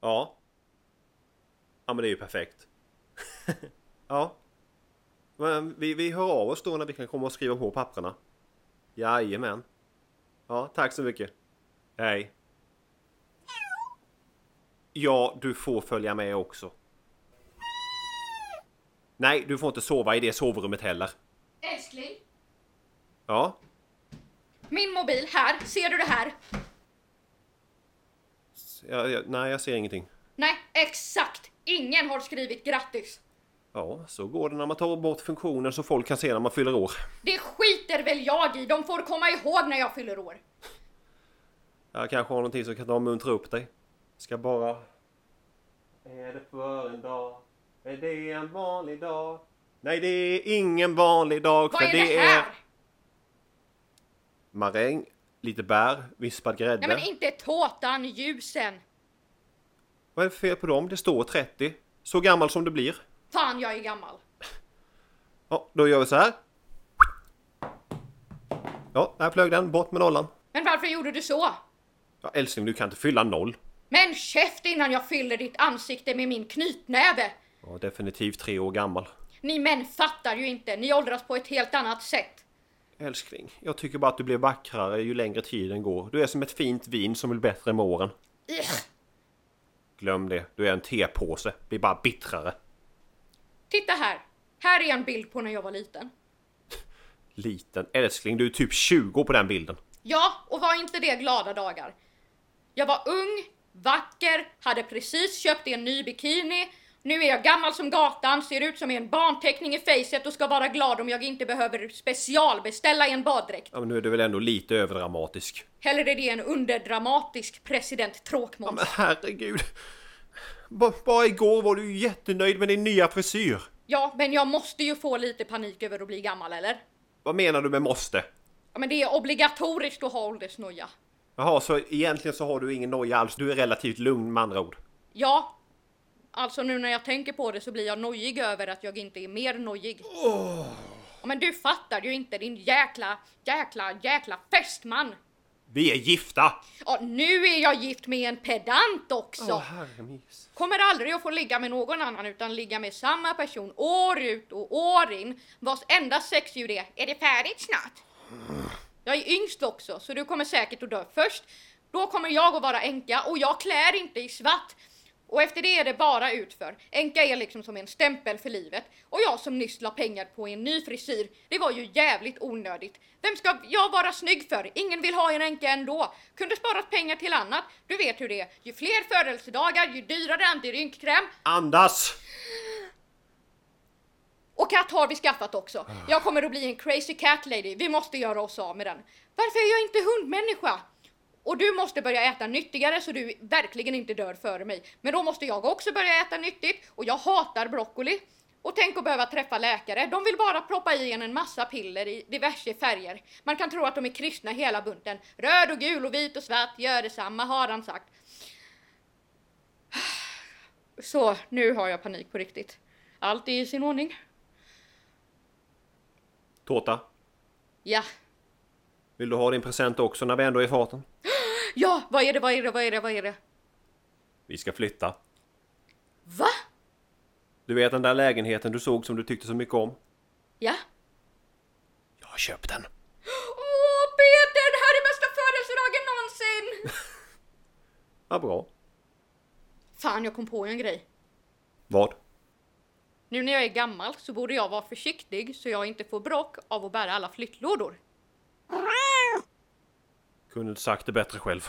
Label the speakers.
Speaker 1: Ja. Ja men det är ju perfekt. ja. Men vi, vi hör av oss då när vi kan komma och skriva på papperna. Jajamän. Ja, tack så mycket. Hej. Ja, du får följa med också. Nej, du får inte sova i det sovrummet heller.
Speaker 2: Älskling,
Speaker 1: Ja,
Speaker 2: min mobil här, ser du det här?
Speaker 1: s- jag, jag, nej jag ser ingenting.
Speaker 2: Nej, exakt! Ingen har skrivit grattis.
Speaker 1: Ja, så går det när man tar bort funktioner så folk kan se när man fyller år.
Speaker 2: Det skiter väl jag i, de får komma ihåg när jag fyller år.
Speaker 1: Jag kanske har någonting som kan ta och muntra upp dig. Ska bara... Är det för en dag? Är det en vanlig dag? Nej, det är ingen vanlig dag
Speaker 2: Vad
Speaker 1: för
Speaker 2: är det här?
Speaker 1: Maräng, lite bär, vispad grädde.
Speaker 2: Nej men inte tåtan ljusen.
Speaker 1: Vad är det för fel på dem? Det står 30. Så gammal som du blir.
Speaker 2: Fan, jag är gammal.
Speaker 1: Ja, då gör vi så här. Ja, där flög den. Bort med nollan.
Speaker 2: Men varför gjorde du så?
Speaker 1: Ja, älskling, du kan inte fylla noll.
Speaker 2: Men käft innan jag fyller ditt ansikte med min knytnäve!
Speaker 1: Ja, definitivt tre år gammal.
Speaker 2: Ni män fattar ju inte, ni åldras på ett helt annat sätt.
Speaker 1: Älskling, jag tycker bara att du blir vackrare ju längre tiden går. Du är som ett fint vin som blir bättre med åren.
Speaker 2: Ugh.
Speaker 1: Glöm det, du är en tepåse. Blir bara bittrare.
Speaker 2: Titta här! Här är en bild på när jag var liten.
Speaker 1: Liten. Älskling, du är typ 20 på den bilden.
Speaker 2: Ja, och var inte det glada dagar? Jag var ung, vacker, hade precis köpt en ny bikini. Nu är jag gammal som gatan, ser ut som en barnteckning i facet och ska vara glad om jag inte behöver specialbeställa en baddräkt.
Speaker 1: Ja, men nu är du väl ändå lite överdramatisk.
Speaker 2: Hellre är det en underdramatisk president Tråkmåns.
Speaker 1: Men herregud. B- bara igår var du ju jättenöjd med din nya frisyr.
Speaker 2: Ja, men jag måste ju få lite panik över att bli gammal, eller?
Speaker 1: Vad menar du med måste?
Speaker 2: Ja, men det är obligatoriskt att ha åldersnoja.
Speaker 1: Jaha, så egentligen så har du ingen noja alls. Du är relativt lugn med andra ord.
Speaker 2: Ja, alltså nu när jag tänker på det så blir jag nojig över att jag inte är mer nojig. Ja, Men du fattar ju inte din jäkla, jäkla, jäkla fästman!
Speaker 1: Vi är gifta!
Speaker 2: Ja, nu är jag gift med en pedant också!
Speaker 1: Åh, herremis.
Speaker 2: Kommer aldrig att få ligga med någon annan utan ligga med samma person år ut och år in vars enda sexdjur är Är det färdigt snart? Jag är yngst också så du kommer säkert att dö först. Då kommer jag att vara änka och jag klär inte i svart. Och efter det är det bara utför. Änka är liksom som en stämpel för livet. Och jag som nyss la pengar på en ny frisyr, det var ju jävligt onödigt. Vem ska jag vara snygg för? Ingen vill ha en änka ändå. Kunde sparat pengar till annat. Du vet hur det är. Ju fler födelsedagar, ju dyrare antirynkkräm.
Speaker 1: Andas!
Speaker 2: Och katt har vi skaffat också. Jag kommer att bli en crazy cat lady. Vi måste göra oss av med den. Varför är jag inte hundmänniska? Och du måste börja äta nyttigare så du verkligen inte dör före mig. Men då måste jag också börja äta nyttigt och jag hatar broccoli. Och tänk att behöva träffa läkare. De vill bara proppa i en en massa piller i diverse färger. Man kan tro att de är kristna hela bunten. Röd och gul och vit och svart gör detsamma har han sagt. Så, nu har jag panik på riktigt. Allt är i sin ordning.
Speaker 1: Tårta,
Speaker 2: Ja.
Speaker 1: vill du ha din present också när vi ändå är i farten?
Speaker 2: Ja, vad är det, vad är det, vad är det, vad är det?
Speaker 1: Vi ska flytta.
Speaker 2: Va?
Speaker 1: Du vet den där lägenheten du såg som du tyckte så mycket om?
Speaker 2: Ja.
Speaker 1: Jag har köpt den.
Speaker 2: Åh Peter, det här är bästa födelsedagen någonsin!
Speaker 1: Vad bra.
Speaker 2: Fan, jag kom på en grej.
Speaker 1: Vad?
Speaker 2: Nu när jag är gammal så borde jag vara försiktig så jag inte får bråck av att bära alla flyttlådor.
Speaker 1: Kunde inte sagt det bättre själv.